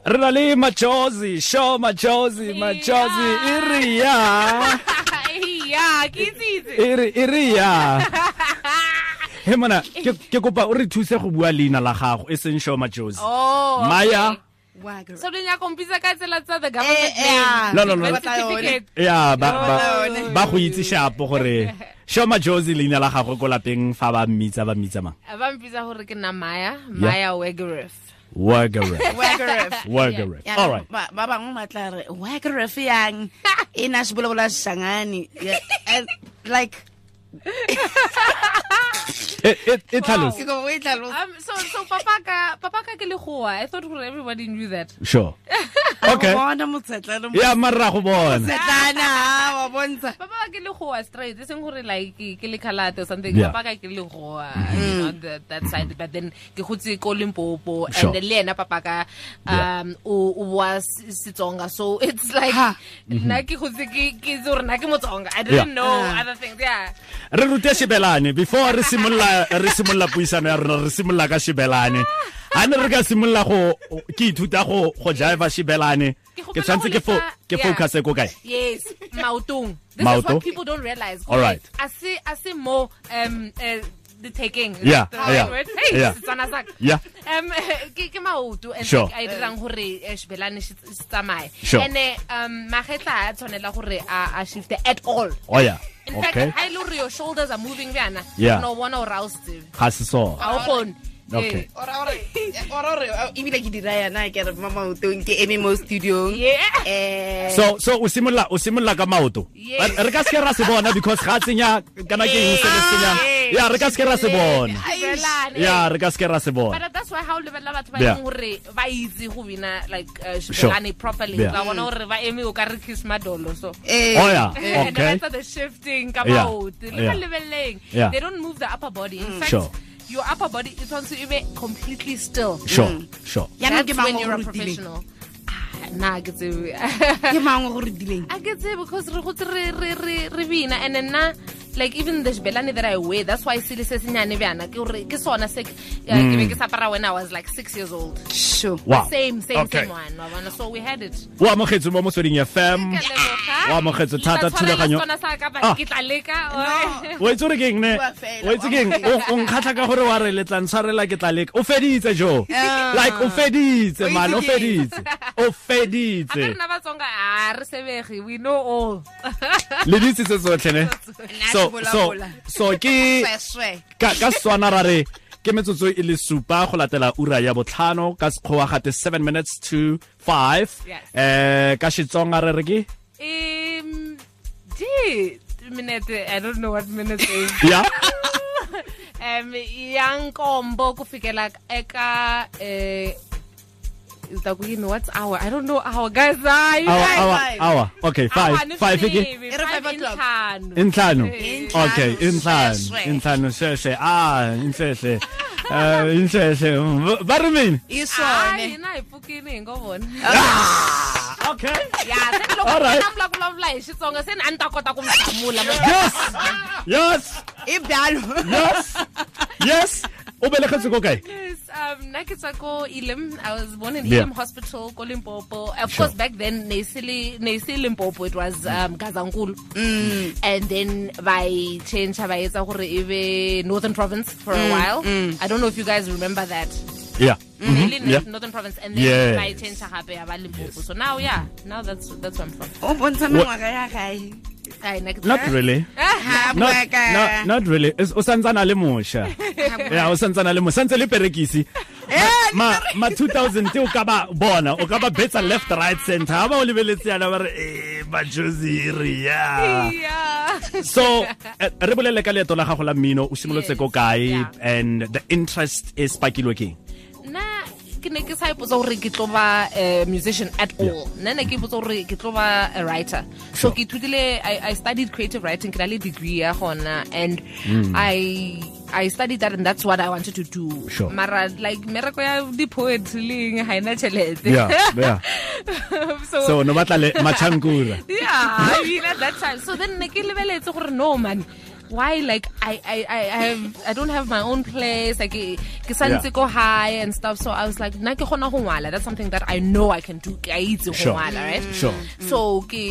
ri na le machozi sho machozi machozi iriya ya ke itsitse iri iriya he mona ke ke kopa o re thuse go bua leina la gago e seng sho machozi oh maya Wagger. so le nyaka mpitsa ka tsela tsa the Eh, government eh, name ah. No, no, no. Ba Birth tla yone. certificate ya ba ba Yone. ba go itse shapo gore sho machozi leina la gago ko lapeng fa ba mmitsa ba mmitsa mang Ah, ba mpitsa gore ke nna maya maya wegerif workeref Waggeref. workeref Yana, all right Ya, ba ba bangwe ba tla re Waggeref yang e na se bolebola sangane Ya, eh, like e e- e tlhalose ke go e tlhalosa um, so so papa ka papa ka ke legoa i thought gore everybody knew that sure Oh, okay Wa bona motsetlana mo- ya marra go bona motsetlana ha, wa bontsha papa ka ke legoa straight e seng gore like ke ke lekhalate or something Yeah. Mm-hmm. papa ka ke legoa you know, that, that side but then ke gotse ko limpopo Sure. and then le ena papa ka um o o wa S- setsonga so it's like Ha. nna ke gotse ke ke itse gore nna ke motsonga i Yeah. didn't know Ah. other things yeah re rute shebelane before re simolola re simolola puisano ya rona re simolola ka shebelane a ne re ka simolola go ke ithuta go go jaiva shebelane Ke ke kgopela tshwanetse go ke fo leka- ke yeah. focus ko kae Yes, maotong. This is Maoto? what people don't realize. All right. I see, I see more um, uh, the taking. Yeah, The right yeah, word. Hey, yeah. Setswana sa ka. Yeah. Um, ke ke maoto and Sure. sure. a dirang gore eh, shibelane se se tsamaye. Sure. And eh, um magetla a tshwanela gore a a shift at all. oh yeah In okay fact, ha ile gore your shoulders are moving yana. Yeah. No bona o roused. ga se so Ga o kgone. Okay. Eh, ora ore ora Oh, ore ebile ke dira yana ke re mama utong ke eme mo studio Yeah. eh so so o simolola o simolola ka maoto Yes. re ka se ke ra se bona because ga a tsenya kana ke eng se le tsenya Yes. ya re ka se ke ra se bona Shibelane. ya re ka se ke ra se bona but that's why how lebelela batho ba Yeah. leng gore ba itse go bina like uh, Sure. shibelane properly Yeah. ba bona gore ba eme o ka re kiss madolo so eh oh yeah And okay that's the shifting ka Yeah. maoto le Yeah. ba lebeleleng Yeah. they don't move the upper body in fact Sure. your upper body e tshwanetse e be completely still sure sure Yaanong ke That's mang when o you're a go rutileng? professional Ah, nna ha ke tsebe ke mang o go rutileng I get it because re go re re re re bina and then na like even the shibelane that I wear that's why sele se senyane bjana ke gore ke sona se ke ya, ke Mm. be ke sa apara when I was like 6 years old sho wow same same okay same one wa bona so we had it o amogetswe mo motsweding fm Ke a leboga. Wa amogetse thata Le tla tshwarela thulaganyo. setswana sa ka ba- Ah. ke tla leka o etse gore keng ne Bua fela, o etse keng wa o o nkgatlha ka gore wa re le tla ntshwarela ke tla leka o feditse jo like o feditse Oh. O man o itse keng? feditse o a ka feditse rena batsonga a re sebege we know all le ditse tse tsotlhe ne Nna so ke so bolabola. so ke sweswe ka ka swana ra re ke metsotso e le supa go latela ura ya botlhano ka sekgowa gate 7 minutes to 5 Yes. eh ka shitsonga re re ke um gee, minute I don't know what minute is ya um ya nkombo ku fikela eka eh is that yini what's hour i don't know hour guys ah, you awa guys awa five. awa okay Hour 5 5 ke nifiniwi, Ere five five o'clock. inhlanu. inhlanu Inhlanu, okay inhlanu shweshwe. inhlanu sheshe ah inhleshe eh inhleshe Mm, ba re mene Iya, Hayi, isone hina hi pfukini hi ngo vona Ah, okay ya se ni loko All right. na vulavula hi xitsonga se ni a ni ta kota ku mi hlamula yes yes e bjalo yes yes o belegetse ko kae Yes, um, nna ke tswa ko Elim. I was born in Yeah. Elim Hospital, ko Limpopo. Of Sure. course, back then, ne se le- ne se Limpopo, it was um, Gazankulu. And then by change, ba etsa gore e be Northern Province for a while. I don't know if you guys remember that. yeah Mainly Mhm, yeah Northern Province, and then Yes. by change, hape ya ba Limpopo. So now, yeah, now that's that's where I'm from. o bontsha mengwaga ya gae Ai, nna ke- not really Eh? ha not, bua ka not, not really Is- o santsana le mosha ya o santsana le mo santse le perekisi ma ma 2000 o ka ba bona o ka ba betsa left right center ha ba o lebeletse yana ba re eh ba joziri ya Yeah. so eh, re bolele ka leeto la gago la mmino o simolotse Yes, ko kae yeah. and the interest is pakilwe keng nna ke ne ke sa ipotsa gore ke tlo ba eh, musician at all nna ne ke ipotsa gore ke tlo ba a writer so Sure. ke ithutile I, i studied creative writing ke na le degree ya gona and Hmm. i i studied that and that's what i wanted to do Sure. mara like mereko ya di-poetry le eng ga ena tšhelete Yeah, yeah. so, so no batla le machankura yeah, I mean at that time. So then ne ke lebeletse gore no man why like I I I, I have I don't have my own place like eh, ke santse Yeah. go high and stuff so I was like na ke gona go ngwala that's something that I know I can do ke a itse go Sure. Mm. ngwala right Sure. so ke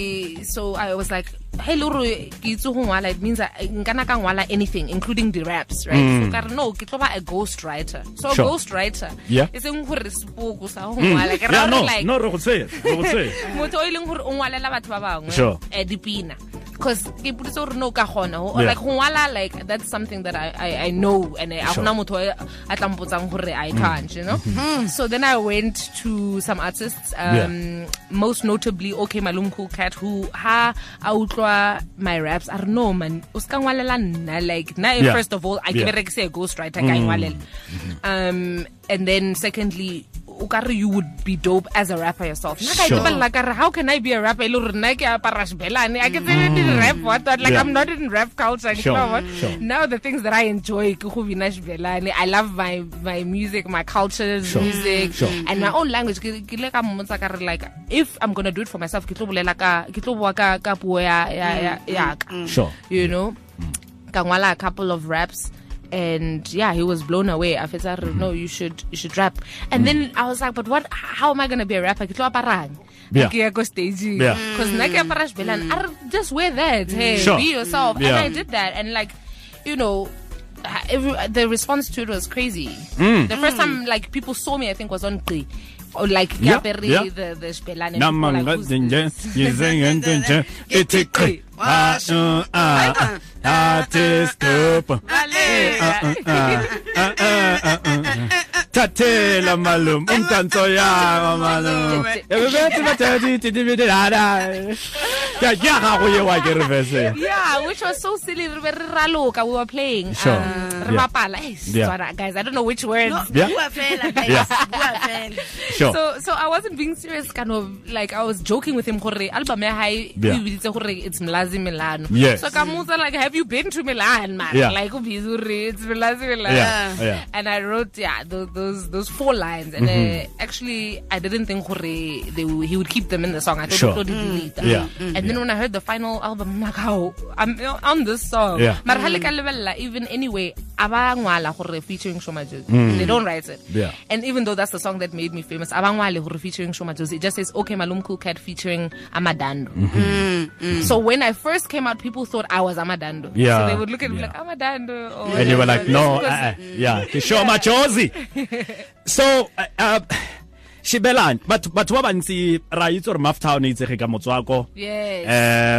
so I was like hey loro ke itse go ngwala it means I nkana ka ngwala anything including the raps right so ka re no ke tlo ba a ghost writer so Mm. Sure. a ghost writer Yeah. e seng gore sepoko sa go Mm. ngwala ke ra Yeah, gore no, like no, re go tshwenya, re go tshwenya. motho o e leng gore o ngwalela batho ba bangwe Sure. eh, dipina because ke ipoditse gore no ka gona Or Yeah. like go ngwala like that's something that i, I, I know and eh, a Sure. Mm. Mm-hmm. gona motho a a tla mpotsang gore i can't you know so then i went to some artists um, most notably okay malumku cat who ha a utlwa my raps a re no man o ska ngwalela nna like na eh, Yeah. first of all i Yeah. Mm. Mm-hmm. ke berekise a ghost writer ka e ngwalela um and then secondly o ka re you would be dope as a rapper yourself nna ka e Sure. itebelela like how can I be a rapper? Ilo rena ke apara shbelane. I can say I didn't rap what that like Mm. Yeah. I'm not in rap culture. Sure, You know what? sure. Now the things that I enjoy ke go bina shbelane. I love my my music, my culture, Sure, music sure. and my own language. Ke ke le ka mmotsa ka re like if I'm going to do it for myself, ke tlo bolela ka ke tlo bua ka ka puo ya ya ya- ya ka. Sure. You know? Ka ngwala a couple of raps. And yeah, he was blown away. I felt like, no, you should you should rap. And then I was like, but what? How am I gonna be a rapper? Ke tlo aparang Yeah. ke ya ko staging Yeah. because nna ke apara xibelane a re just wear that hey Sure. be yourself and Yeah. i did that and like you know ha- every, the response to it was crazy Mm. the first time like people saw me i think was on Gqi. or like ke Yeah, apere yeah. the the xibelane and people were like, namanga "Who's zinje this?" yizengentinje itikri ah, atistupa Uh, thathela malum um, umdanso yaba malum ya gago ye wa ke reverse yeah, which was so silly. Re be re raloka, We were playing. Sure. Um, re Yeah. bapala. Eh, Yeah. Setswana, Guys, I don't know which words. No, Yeah. bua fela, guys, Yeah. bua fela. sure So so I wasn't being serious kind of like I was joking with him gore album ya hae Yeah. we biditse gore it's Mlazi Milan. Yes. So ka motsa like have you been to Milan man? Yeah. Like o biditse gore it's Mlazi Milan. Yeah, yeah. And I wrote yeah those those, those four lines and uh, Mm-hmm. actually I didn't think gore they would, he would keep them in the song. I thought Sure. Mm-hmm. he would delete them. Yeah. And then when I heard the final album I'm like how I'm on this song. Yeah. Mara ha le ka lebella even anyway aba ngwala gore featuring Shoma Jozi. They don't write it. Mm. Yeah. And even though that's the song that made me famous, Abangwale who featuring Shoma Jozi, it just says okay Malum Cool Cat featuring Amadando. Mm-hmm. So when I first came out, people thought I was Amadando. Yeah, So they would look at me yeah. like Amadando or and you were like, no, Because- uh, yeah, ke show machozi. So, uh, uh, Shibelane, but but ba bantsi ra itse gore Maftown e itsege ka motswako. Yes.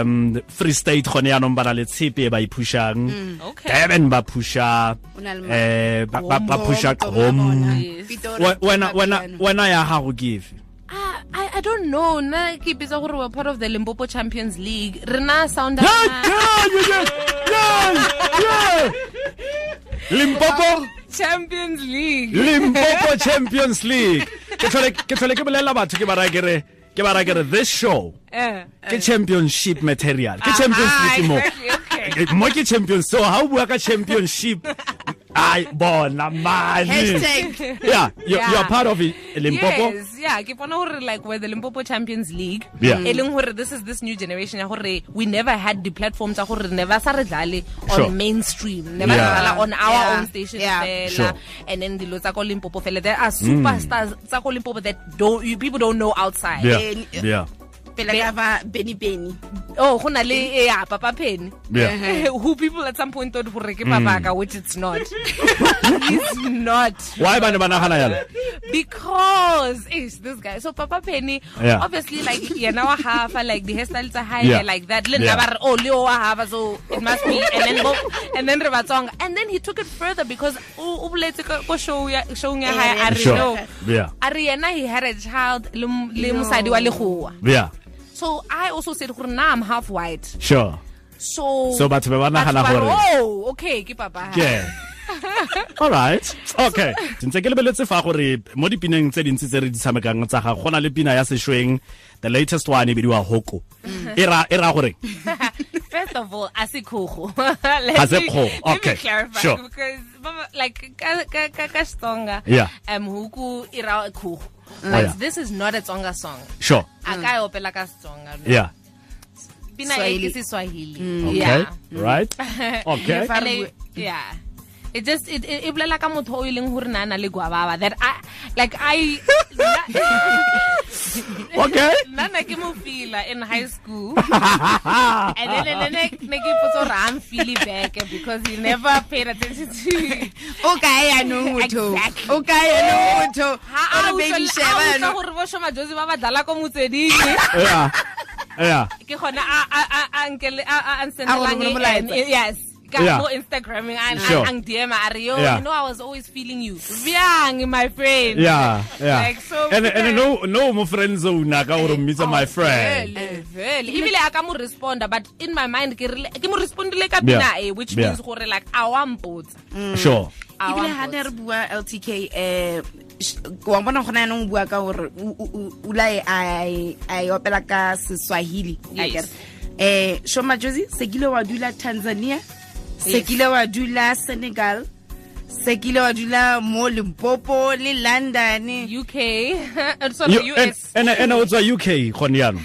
Um Free State gone yaanong ba na le tshepe e ba e pushang. okay. Durban ba pusha. O na le ma- Eh ba ba ba pusha Bo- bo- bo- bona. qom. Yes. Pitori, Wena wena Mapiano. wena ya gago give. Ah, I, I don't know. Na ke bitsa gore we're part of the Limpopo Champions League. Rena sound Yeah, yeah, yeah, yeah, yeah. Limpopo Champions League. Limpopo Champions League. Ke tlhole ke tlhole ke bolela batho ke ba raya ke re ke ba raya ke re this show Eh. ke championship material. Ah, Ke Champions Aha, League mo. exactly, okay. Eh, Mo ke champions so how bua ka championship. Ai bona mani. Hashtag. Yeah, you you are Yeah. part of it, Limpopo. Yes, yeah. Ke bona gore like we're the Limpopo Champions League. Yeah. E leng gore this is this new generation ya gore we never had the platform tsa gore never sa re dlale on Sure. mainstream. Never Yeah. yeah. on our Yeah. own station Yeah. fela. Sure. Mm. And then dilo tsa ko Limpopo fela there are superstars tsa ko Limpopo that don't you people don't know outside. Yeah. Yeah. Pele ka ba Benny Benny. Oh, go na le e ya papa Penny. Yeah. Who people at some point thought gore ke Mm. papaka which it's not. it's not. Why bana bana gana yalo? because it's this guy. So Papa Penny, Yeah. obviously, like yeah, now I have uh, like the hairstyles are high, Yeah. like that. Lin Yeah. yeah. oh Leo I have so it must be, and then go, and then Rivatong, and then he took it further because oh, ubulete ko ko show ya show ya high Ari Sure. no. Yeah. Ariana, he had a child, le m- le mosadi wa legoa. Yeah. So I also said, "Gore, nah, I'm half white. Sure. So, So batho ba ba Batho nagana ba re, gore- oh, okay, ke papa. Yeah. All right. Okay. Ntse ke lebeletse fa gore mo dipineng tse dintsi tse re di tshamekang tsa ga gona le pina ya sešweng the latest one e bidiwa hoko Mm-hmm. e ra e ra gore First of all, asikhogo. Let Ga se me- kgogo, Let okay, me clarify sure. because baba, like ka ka ka ka Xitsonga. Yeah. Um huku ira khugo. Oh, yeah. But this is not a e Tsonga song. sure Aka opela ka Xitsonga. no. yeah pina e ke Swahili. seswahili Okay. Mm-hmm. yeah Right? Okay. Fa re And I- yeah it just it it it bolela ka motho o e leng hore na na le gwababa that i like i Okay. nna ne ke mo feela in high school and then and then ne ne ke ipotsa hore i'm feeling back eh, because he never paid attention to o kae yanong motho Exactly. o kae yanong motho ha a Ore baby, utlwa- sheba a utlwa yanong. gore bo shomajosi ba ba dlala ko motsweding Yeah. Yeah. ke gona a a a a nkele a a a A go romela nsendelang e- molaetsa. e- yes ka Yeah. mo Instagramming a Sure. a ang DM a re yo Yeah. you know I was always feeling you bjang my friend Yeah. Yeah. Like, so and and no weird. no mo friend zone ka o romisa my friend. Oh, Vele, vele. Ebile a ka mo responda but in my mind ke rile- ke mo respondile ka Yeah. pina e which Yeah. means gore like a wa mpotsa Sure. A wa ebile ga ne mpotsa. re bua ltk um wa bona gona yanong o bua ka gore o- o- o- ula e a e- a e opela ka seswahili Yes. um shoma josi se kile wa dula tanzania se Yes. kile wa dula senegal se kile wa dula mo limpopo le london UK Uh, sorry You, and, US and, and also UK gone yanong.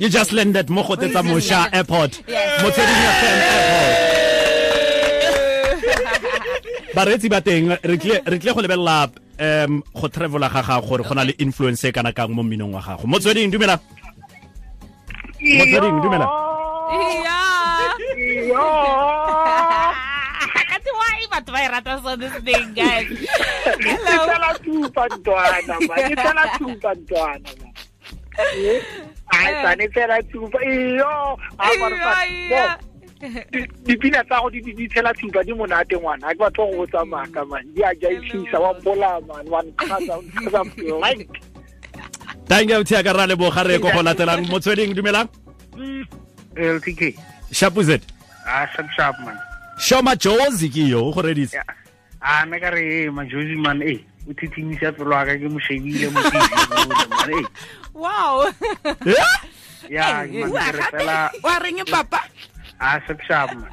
You just landed mo go tsetsa Mosha Airport. Mo tseding ya FM Airport. Baretsi ba teng re tle re tle go lebella em go travela ga gago gore gona le influence e kana kang mo mminong wa gago. Mo tsweding dumela. Mo tsweding dumela. Yeah. Yo, Ka ti why batho ba e rata so this thing guys ke Hello tsala tupa ntwana ma, ke tsala tupa ntwana ma. Eh, ai, tsane tsela tupa. Iyo, a ba re fa- Yeah, Bo, di- dipina tsa go di di- di tshela thupa di monate ngwana ha ke batho go botsa maaka man di a jaifisa wa mpola man wa nkgatsa- nkgatsa blank. Thank you tia ka ra le bo ga re go go latelang mo tsweding dumela. LTK. Shapuzet. Ah, sharp sharp man. Shoma Jozi ke yo go redisa. Yeah. Ah, nna ka re eh, majosi man eh o thithimisa pelo ya ka ke mo shebile mo TV mole, man eh. wow Eh? Ya, Eh, man ke re fela wa reng papa ah sharp sharp man.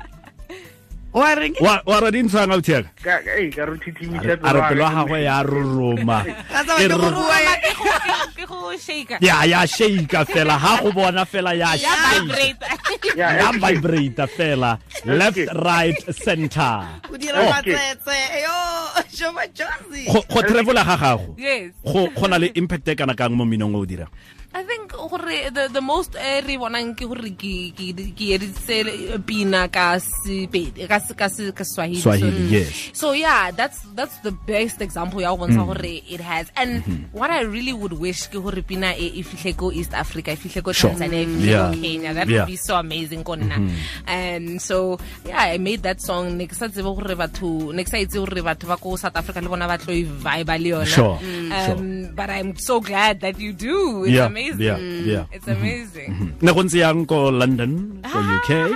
wa reng Wa wa ra dintsa nga o tia. Ka ka- eh ka re o thithimisa A re pelo pelo ya ya ka. ke mo gagwe ya roroma. Tsa E batho go roroma. bua ya- Ke go- ke- ke go shaker ya ya shake fela ha go bona fela ya ya shake vibrate she- Ya, eh. ya LTK. vibrate fela left Okay. right center o dira Oh. matsetse yo shoma josi go go travel ga gago yes go go na le impact e kana kang mo minong o dira I think gore the, the most eh, re bonang ke gore ke ke ke editse pina ka sepedi ka se- ka se- ka Swahili Swahili, so, yes. Mm. so yeah that's that's the best example ya go bontsha gore it has and Mm-hmm. what I really would wish ke gore pina e e fihle ko East Africa e fihle ko Sure. Tanzania e Mm. fihle Yeah. ko Kenya that Yeah. Mm-hmm. would be so amazing ko nna and so yeah I made that song ne ke sa tsebe gore batho ne ke sa itse gore batho ba ko South Africa le bona ba tlo e vibe le yona Sure, um, sure. but I'm so glad that you do it's Yeah, amazing Mm-hmm. yeah, yeah. Mm-hmm. it's amazing ne go ntse yang ko london ko uk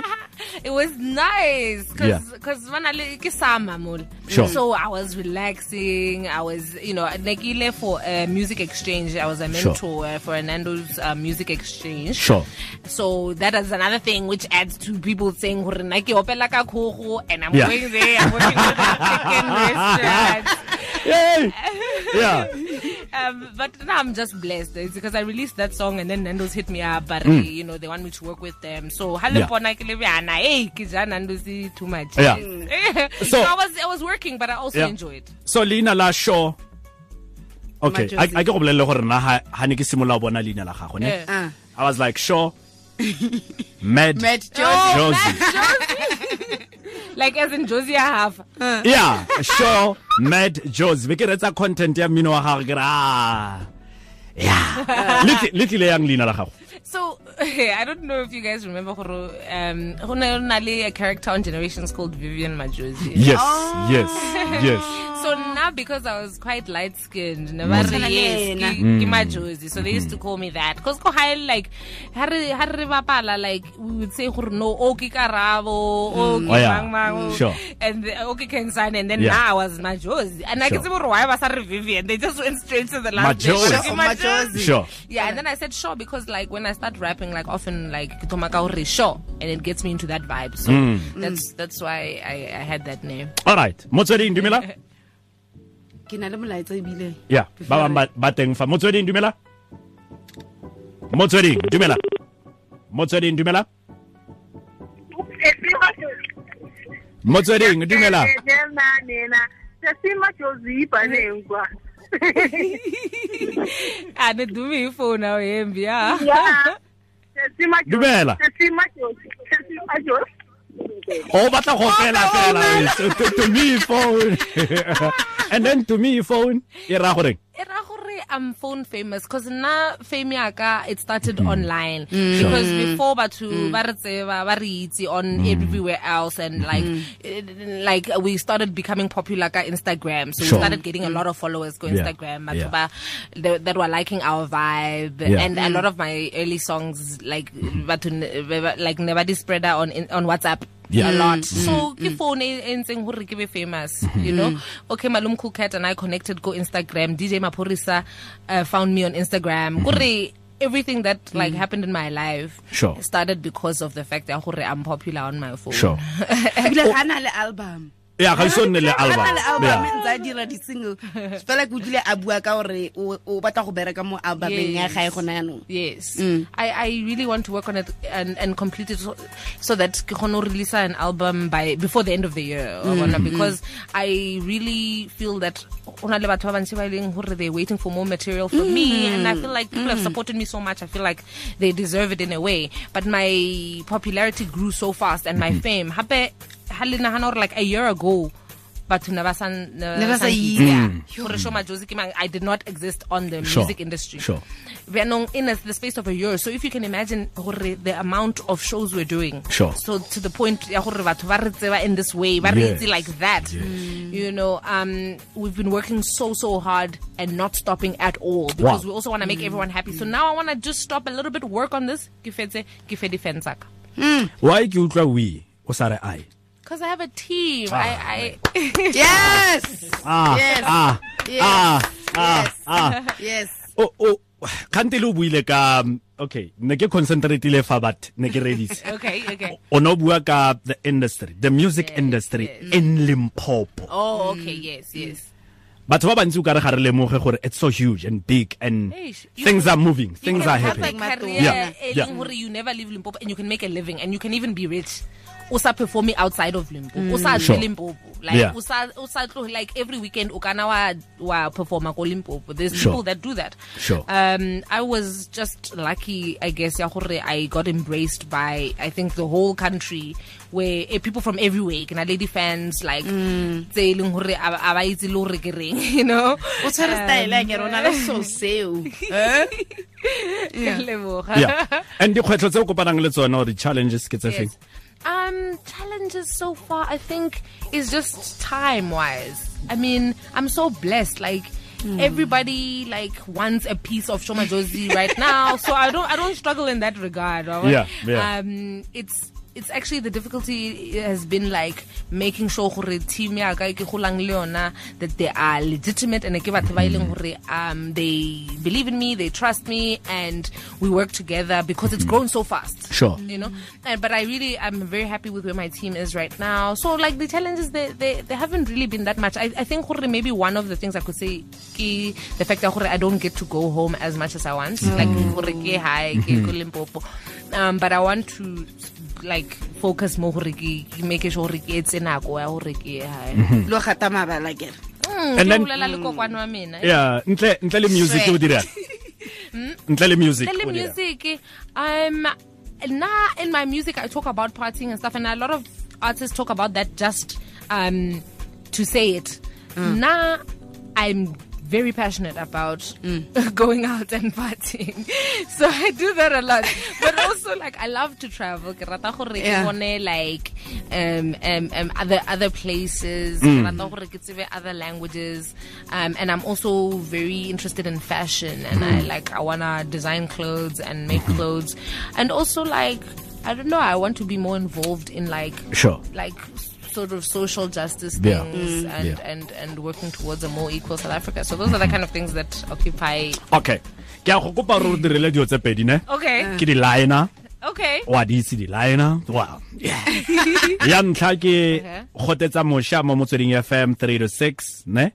it was nice Yeah. because when I le- ke summer mole Sure. so I was relaxing I was you know nekile for a music exchange I was a Sure. mentor uh, for Hernando's uh, music exchange Sure. so that is another thing which adds to people saying "Hore nna ke opela ka kgogo," and I'm Yeah. going there I'm working with African restaurants Yay! yeah um, but now I'm just blessed. It's because I released that song and then Nando's hit me up, but eh, you know they want me to work with them. So Mm. Yeah. Halepona Kilebiana, hey, Kija Nando's eh, too much. Yeah. So- so I was I was working, but I also Yeah. enjoyed. so leina la sure okay a Majosi. a ke go bolelle gore na ha ha ne ke simola o bona leina la gago ne Yeah. Ah. i was like sure mad Matt Josi. Oh, Josie. like as in Josie I have. yeah sure mad jos be ke retsa content ya mmino wa gagwe ke re ah yeah le tle- le tlile yang leina la gago So I don't know if you guys remember gore, um go ne go na le a character on Generations called Vivian Majosi. yes yes yes So now because I was quite light skinned, Mm. Tshwana le yena. Josie. So they used to call me that. Because kohai like hari hari bapala like we would say "Hore no oki karabo, oki Oh, yeah. mang mang, oh," Sure. and the- oki kensan and then Yeah. now I was Majosi. And I Sure. can see why was Vivian. They just went straight to the last name. Majosi. Like, Sure, Majosi. sure Yeah, and then I said sure because like when I start rapping, like often like ke thoma ka hore sure, and it gets me into that vibe. So Mm. that's that's why I, I had that name. all right motsweding dumela ke na le molaetsa ebile yeah ba bang ba- ba teng fa motsweding dumela motsweding dumela motsweding dumela motsweding dumelang eh, sesima eh, josipa nenkwa Ah, a ni dumi hi phone a wu hembi ya sesima Dumela. sesima sesima josi o batla go fela fela weso. to, to me phone and then to me phone e raya goreng e ra gore i'm phone famous because nna fame yaka it started Mm. online because before batho ba re tseba ba re itse on Mm. everywhere else and like eh, like we started becoming popular ka instagram so Sure. we started getting a lot of followers go Yeah. instagram batho Yeah. ba that that were liking our vibe Yeah. and a lot of my early songs like batho ne- ba- ba- like never spreader on on whatsapp Yeah. Mm. a lot so ke phone e e ntseng gore ke be famous you know Mm-hmm. okay malum cool cat and i connected go instagram dj maporisa uh, found me on Mm-hmm. instagram kore everything that like happened in my life Sure. started because of the fact that gore i'm popular on my phone sure ebile ga a na le album ya ga iso nne le Ga a na le album album Yeah. ntse a dira di-single fela ke utlwile a bua ka gore o o batla go bereka mo albumeng ya Yes. gae gona yanong Yes, Mm. I, I really want to work on it and, and complete it so, so that I can release an album by before the end of the year Mm, or whatnot, because I really feel that ho na le batho ba bantsi ba e leng hore they're waiting for more material from me Mm-hmm. and I feel like people have supported me so much I feel like they deserve it in a way but my popularity grew so fast and Mm-hmm. my fame hape ha le nagana hore like a year ago batho ne ba sa ne ba Ne ba sa sa ntse. itse. Mm. Yeah. Gore Sho Majosi ke mang, I did not exist on the Sure. music industry Sure. Vianong in a, the space of a year. So if you can imagine gore, the amount of shows we're doing. Sure. So to the point ya gore batho ba re tseba in this way, ba re Yes. itse like that. Mm. You know, um, we've been working so so hard and not stopping at all because we also want to make everyone happy. So now I want to just stop a little bit, work on this. Ke fetse ke fe defense aka. why e ke utlwa we o sa re ai Because I have a team. I, I yes ah Yes. ah Yes. ah ah Yes. ah yes o o kante le o buile ka um, okay ne ke concentratile fa but ne ke reditse okay okay. o no bua ka the industry the music industry in Limpopo Oh okay yes yes. batho ba bantsi o kare ga re lemoge gore it's so huge and big and Eish, you things can- are moving things you are can have happening a career Yeah, e yeah. leng hore you never leave Limpopo and you can make a living and you can even be rich o sa performing outside of Limpopo o sa Sure. tswe Limpopo like Yeah. o sa o sa tlo like every weekend o kana wa wa performa ko Limpopo there's Sure. people that do that Sure. um i was just lucky i guess ya gore i got embraced by i think the whole country where eh, people from everywhere kana lady fans like tse e leng hore a a ba itse le hore ke reng you know o tshwere style ya kere o na le so seo Ke leboga. yeah and dikgwetlho tse o kopanang le tsone or di-challenges ke tse feng Yes. Um, challenges so far, I think, is just time wise. I mean, I'm so blessed. Like, Hmm. Everybody like wants a piece of Shoma Josie right now, so I don't I don't struggle in that regard. all right? Yeah, yeah. Um, it's it's actually the difficulty has been like making sure gore team ya ka e ke golang le yona that they are legitimate and ke batho ba e leng Hmm. gore um they believe in me, they trust me, and we work together because it's grown so fast Hmm. sure you know and, but i really i'm very happy with where my team is right now so like the challenges they they, they haven't really been that much i, I think gore maybe one of the things i could say ki, the fact that gore i don't get to go home as much as i want Mm. like gore ke high Mm-hmm. ke ko Limpopo. um but i want to like focus mo gore ke ke make sure gore ke etse nako ya gore ke Hmm. high lo gata mabala kere Mm, Mm-hmm. And ke then- bolela le kokwana wa mina yeah ntle ntle le music o dirang Hmm? ntle le music Tell o him dirang music. Um, now in my music, I talk about partying and stuff, and a lot of artists talk about that just um, to say it. Now I'm very passionate about going out and partying, so I do that a lot. but also, like I love to travel. Ke rata gore ke Yeah. bone, like um, um, um, other other places. Mm. Ke rata gore ke tsebe other languages, um, and I'm also very interested in fashion, and I Mm. like I wanna design clothes and make Mm-hmm. clothes, and also like I don't know, I want to be more involved in like Sure. like sort of social justice Yeah. things and, Yeah. and and working towards a more equal South Africa. So those are the kind of things that occupy. okay ke a go kopa gore o direle dio tse pedi ne Okay, ke di-liner okay. wa di itse di-liner wow yeah. ya ntlha ke gotetsa mošwa mo motsweding fm 3 to 6 ne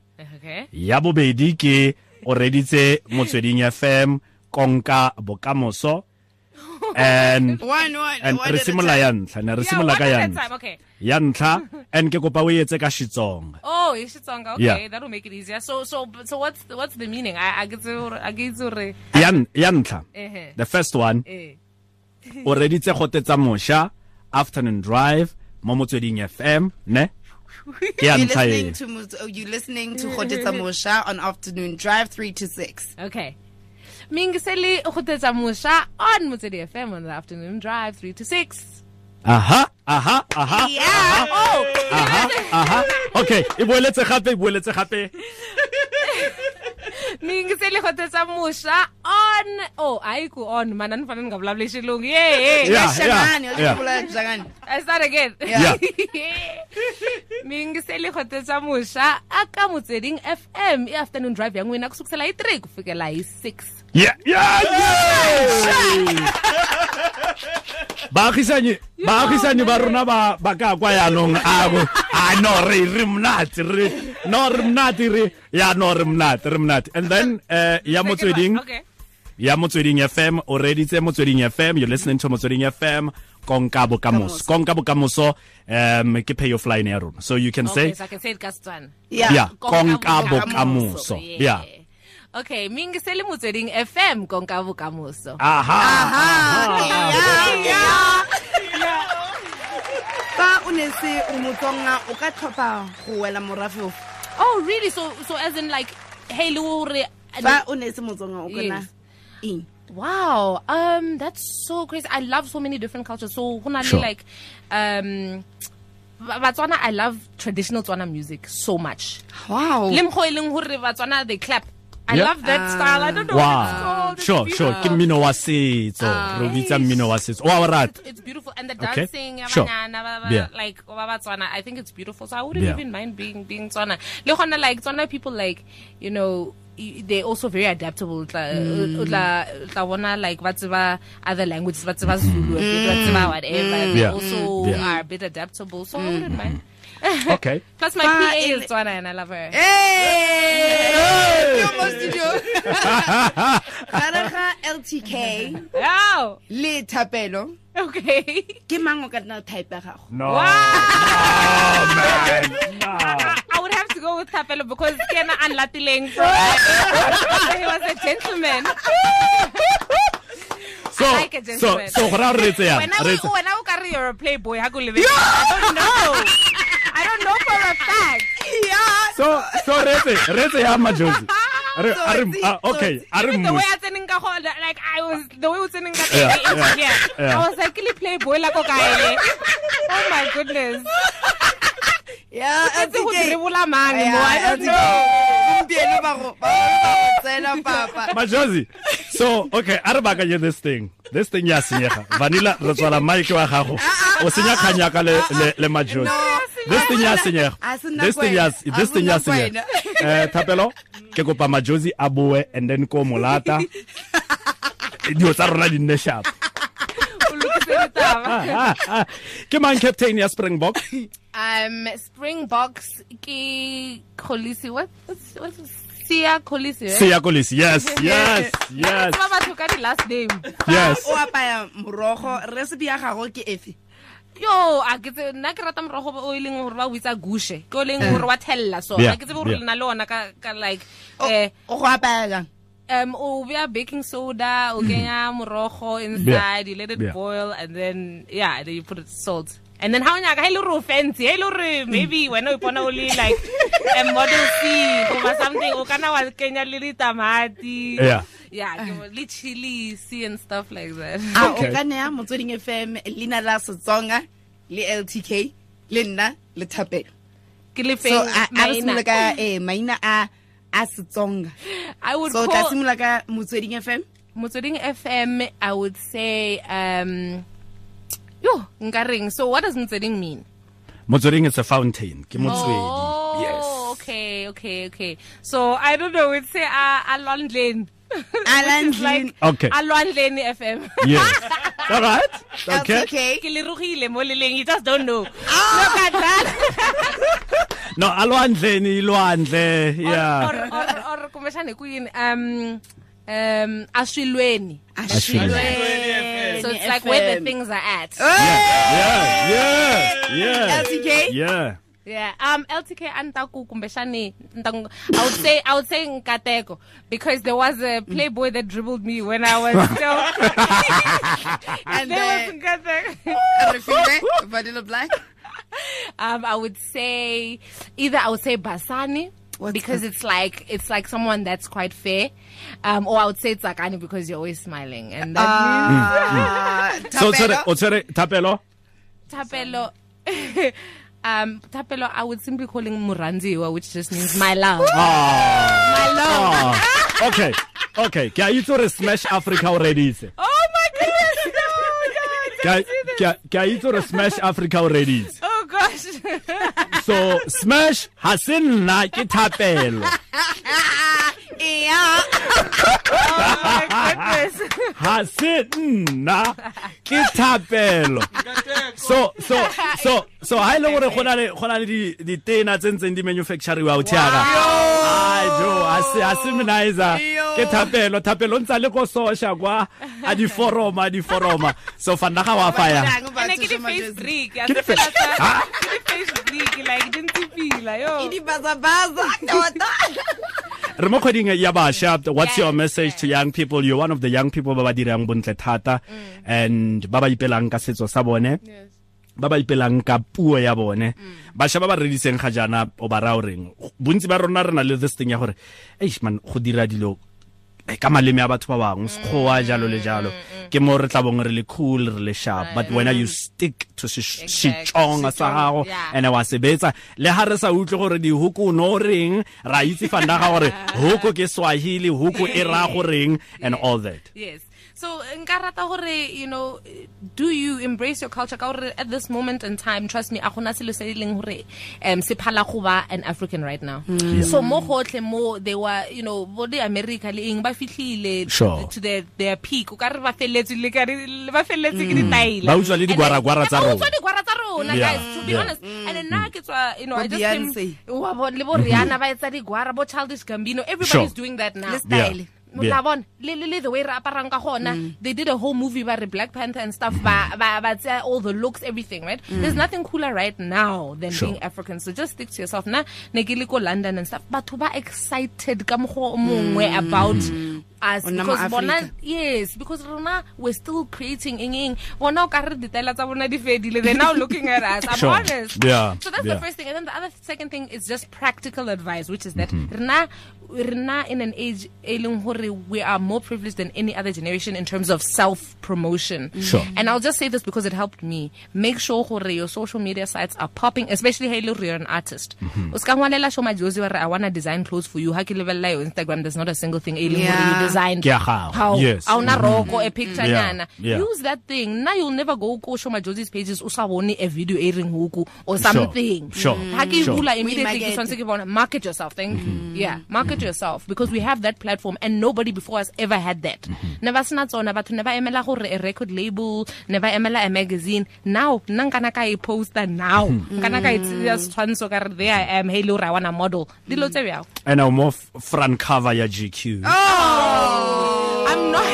Okay. ya bobedi ke o reditse motsweding fm konka bokamoso and One, one, and one re at a simolla time. ya ntlha ne re Yeah, simolla one ka at ya a time, ntlha okay. ya ntlha and ke kopa o etse ka xitsonga Oh, it's Xitsonga. Okay, Yeah. that'll make it easier. So, so, so what's the, what's the meaning? I, I get to, I get to. re- ya n- ya ntlha Ehe. the first one Eh. o reditse gote tsa mošwa afternoon drive mo motsweding fm ne ke ya You're ntlha e listening to Mo- oh, you're listening to Khotetsa Mosha on afternoon drive three to six. Okay. Mingiseli Khutetsa Musha on Motsedi FM on the afternoon drive 3 to 6. aha aha aha Yeah. Oh, aha aha okay e boeletse gape e boeletse gape Mingiseli Khutetsa Musha on oh ayiku on mana ni fanele ngavulavuli xilungu. Yeah, yeah. Yeah, Shamani, yeah, let's yeah. pull out Shamani. I start again. Yeah. Mingiseli Khutetsa Musha aka Motsedi FM i afternoon drive ya n'wina kusukela hi 3 ku fikela hi 6. Yeah, yeah, yeah. baagisane baagisane ba rona ba ba ka kwa yanong a bo a no re re monate re no re monate re ya no re monate re monate and then uh, ya motsweding Okay. ya motsweding fm o reditse motsweding fm you're listening to motsweding fm konka bokamoso konka bokamoso um ke pay your fly ya rona so you can Okay, say so I can say it ka Setswana. yeah Yeah. konka Konka bokamoso yeah Okay, mingiseli Motsedi FM konka bokamoso. aha Ah, yeah, yeah. Fa o ne se o motsonga, o ka tlhopha go wela morafe ofe? Oh, really? So, so as in like, hey, Lure. Fa o ne se motsonga, o ka na Yes. eng? Wow. Um, that's so crazy. I love so many different cultures. So, Sure. sure. like, um, Ba- Batswana, I love traditional Tswana music so much. Wow. Le mokgwa e leng hore Batswana, they clap. I Yeah. love that style. I don't know wow what it's sure called. Ah. It's sure ke beautiful. mmino wa setso re o bitsa mmino wa setso wa o rata It's beautiful. And the Okay. dancing, Sure. sure. banana, Yeah. like, wa Batswana, I think it's beautiful. So I wouldn't Yeah. even mind being being Tswana. Le gona, like, Tswana people, like, you know, y- they're also very adaptable. O tla- Mm. o tla o tla bona, like, ba tseba other languages, ba tseba Zulu, ba tseba whatever. They Mm. Yeah. also Yeah. Mm. Mm-hmm. are a bit adaptable. So I wouldn't mind. okay Plus, my Fa PA e is le- Tswana and I love her. Hey! Ke mo studio. Gare ga LTK Wow. le thapelo Okay. ke mang o ka nna type ya gago no Oh, I would have to go with Tapelo because Kiana and Latiling. So he was a gentleman. so I like a so gentleman. so gora re tse When yana I re was tse when I was carrying a playboy, I could live it. I don't know. I don't know for a fact. so so re tse re tse ya majosi re So are it's- so okay it's- are Even the mo way I sending ka hole, like I was the way we sending ka Yeah, yeah, yeah, yeah. I was like, "Kili playboy like okay." Oh my goodness. Yeah, It's a good LTK. ribula man. Yeah, I don't LTK. know. Gompieno ba go- ba go tsena, papa. majosi so okay are ba ka this thing this thing ya senyega vanilla re tswala mic wa gago o senya khanya ka le le, le majosi No. this thing ya senyega Ha se nako this thing ya wena. this Ha thing se ya nako senyega eh thapelo ke kopa majosi a boe and then ko molata dio tsa rona di nne sharp Ah, ah, ah. ke mang captain ya springbok Um, Springboks ki Kolisi. What? What's, what's Sia Kolisi? Right? seya kolisi yes yes yes Mama took the last name. yes o apaya morogo recipe ya gago ke efe Yo, a ke tse nna ke rata morogo o e leng gore ba o bitsa gushe. Ke o leng gore wa thella so. Yeah, A ke tse gore yeah. lena le ona ka ka like O- eh o go apaya jang um o bea baking soda, o kenya morogo inside, you let it Mm-hmm. Yeah. boil and then yeah, then you put it salt. And then how nyaka e hello ro fancy, hello ro maybe Mm. e when we bona only like a model C or something o kana wa kenya le ditamati. Yeah. Yeah, Ah. ke bo- le chili C and stuff like that. a o Okay. ka neya Ah, motsweding fm leina la setsonga le ltk le nna le thapelo Ke le so feng a a re maina. simolola ka eh, maina a a setsonga I would so o tla call simolola ka motsweding fm Motsweding FM. I would say, um, yo, ngaring. So, what does Motsweding mean? motsweding it's a fountain ke Oh, motswedi yes okay, okay, okay. So, I don't know. We'd say uh, Alon Lane. Alon Which is like Lane. Okay. Alon Lane FM. yes all right okay ltk Ke le rogile mo leleng, You just don't know. Look at that. no alwandleni ilwandle Or, yeah or, or, or, kumbexani ku yini, um, um, Ashilweni. Ashilweni. Ashilweni. So Motsweding it's like where FM. the things are at. Yeah, yeah, yeah. LTK? Yeah. Yeah. Um LTK Antaku Kumbeshani Ntangu- I would say I would say Nkateko because there was a playboy that dribbled me when I was still And, there uh, was Nkateko. Refile, Vanilla Black. Um I would say either I would say Basani What's because it's like it's like someone that's quite fair. Um or I would say Tsakani because you're always smiling and that means Uh, mm. So o tshwere Tapelo. o tshwere thapelo Tapelo. um, Tapelo, I would simply call him Muranziwa, which just means my love. Ah, My love. ah. okay okay ke a itse gore smash africa o reditse Oh my goodness. Ke a- ke a- ke a itse gore smash africa o reditse Oh gosh. so smash ha se nna ke thapelo Yeah. my goodness. ha se nna ke thapelo so so so so ha ile gore gona le gona le di di tena tsentseng di manufactureriwa o thiaka ai jo ha se ha se mnaiza Yo. ke thapelo thapelo o ntse a le go sosha kwa a di foroma a di foroma so fanda ga wa faya And I get a face break. I Ke di feel fa- like a- Ah. ke di face break. Like, didn't you feel like, oh. yo. re mo kgweding ya bašwa what's Yes, your message to young people you're one of the young people ba ba dirang bontle thata and ba ba ipelang ka setso sa bone ba ba ipelang ka puo ya bone Mm. bašwa ba ba rediseng ga jaana o ba raya o reng bontsi ba rona re na le this thing ya gore eish man go dira dilo eh, ka maleme a batho ba bangwe Mm. sekgowa jalo le jalo ke mo re tla bong re le cool re le sharp but wena you stick to se- Exact. setsonga sa Setsonga, gago yeah. and ene wa sebetsa le ha re sa utlwe gore dihoko no reng ra itse fanda ga gore hoko ke swahili hoko e ra goreng and all that Yes. So nka rata gore you know do you embrace your culture ka gore at this moment in time trust me a gona selo se e leng gore um se phala go ba an African right now. So mo gotlhe mo they were you know bo di America le eng ba fitlhile Sure. to their their peak o ka re ba felletse le ka re le Mm. ba felletse ke ditaila. Ba utswa le digwaragwara tsa Ba utswa rona. digwara tsa rona Yeah. guys to Yeah. be Mm. honest. And then now ke tswa you know Bo I just came Beyonce. wa bo- le bo Rihanna ba etsa digwara bo Childish Gambino everybody's Sure. doing that now. Le style. Yeah. Motla bona le le le the way re aparang ka Mm. gona they did a whole movie about the black panther and stuff ba ba ba tsaya all the looks everything right there's nothing cooler right now than Mm. Sure. being african so just stick to yourself na ne ke le ko london and stuff batho ba excited ka mogo o mongwe Mm. about us Rona because ma-Africa. bona yes because rona we're still creating eng eng bona o ka re ditaela tsa bona di fedile they're now looking at us i'm Sure. honest Yeah. so that's Yeah. the first thing and then the other second thing is just practical advice which is that Mm-hmm. rena rena in an age e leng hore we are more privileged than any other generation in terms of self promotion Mm-hmm. Sure. and i'll just say this because it helped me make sure hore your social media sites are popping especially hey look you're an artist Mm-hmm. o ska ngwalela show majosi wa re i want to design clothes for you ha ke lebella your instagram there's not a single thing e leng hore Yeah. you designed Ke ya gago, How- yes. Mm-hmm. a una roko a picture Yeah, nyana yeah. use that thing now you'll never go ko show majosis pages o sa bone a video e reng huku or Sure. something Mm. Sure. ha ke Sure. Mm-hmm. bula We immediately ke market. tshwanetse ke bona market yourself thing yeah market yourself because we have that platform and nobody before us ever had that Mm-hmm. never sena tsona batho never emela gore a record label never emela a magazine now nna nkana ka e poster now Mm-hmm. nkana ka e tseya setshwantsho ka re there i am hey lora i want a model dilo tse bjao and a more f- front cover ya gq Oh! i'm not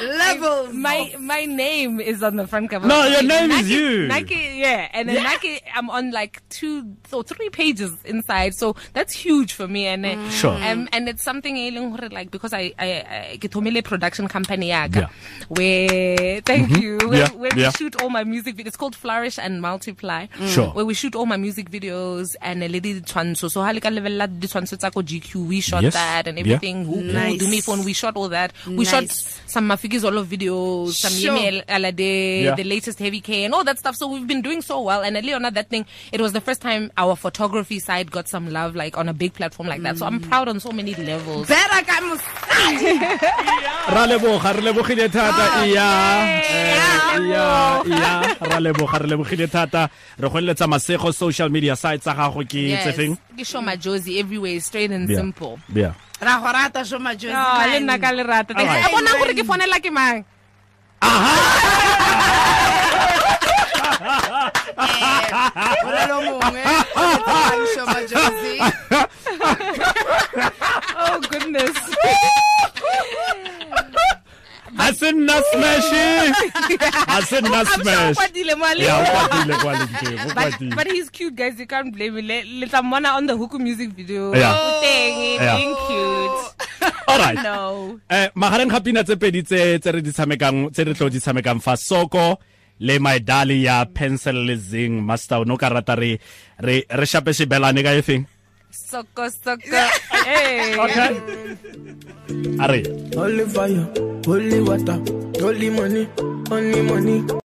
Levels. My my name is on the front cover. No, Of your Nike. name is Nike- you. Nike, yeah, and then Nike, I'm on like two or three pages inside, so that's huge for me. And uh, Sure. um, and it's something e leng hore, like because I I, I Kitomele production company yaka, Yeah. Mm-hmm. where thank you, where, Yeah, where yeah. we shoot all my music videos. It's called Flourish and Multiply. Sure. Where we shoot all my music videos and a lady twanso. So halika level la twanso tsako GQ. We shot Yes. that and Yeah. everything. Who- who Nice. Do me phone. We shot all that. We shot Nice. some Mafikizolo videos, some Sure. Yemi Al- Alade, Yeah. the latest Heavy K, and all that stuff. So we've been doing so well. And at Leona, that thing, it was the first time our photography side got some love, like on a big platform like that. So I'm proud on so many levels. Better come. ra leboga re lebogile Oh, thata iya eh, iya iya ra leboga re lebogile thata re go eletsa masego social media sites tsa gago ke Yes. tsefeng Ke show my Josie everywhere, straight and Yeah. simple. yeah Rahorata so much. Oh, le nna ka lerata. Thank Alright. you. Bona gore ke founela ke mang? Oh goodness. a se nna smashe a se nna I'm sure o smash kwadile mo a le- ya o kwatile kwa lentseng o but, kwatile but he's cute, guys. You can't blame him. Le, le tla mmona on the Huku music video. Yeah. Oh, dang it, Yeah. being cute. alright No. eh magareng ga pina tse pedi tse tse re di tshamekang tse re tlo di tshamekang fa soko le maidali ya pencil le zing master o no ka rata re re re shape sebelane ka efeng Soko, soko. Hey. okay are Holy fire, holy water, holy money, only money.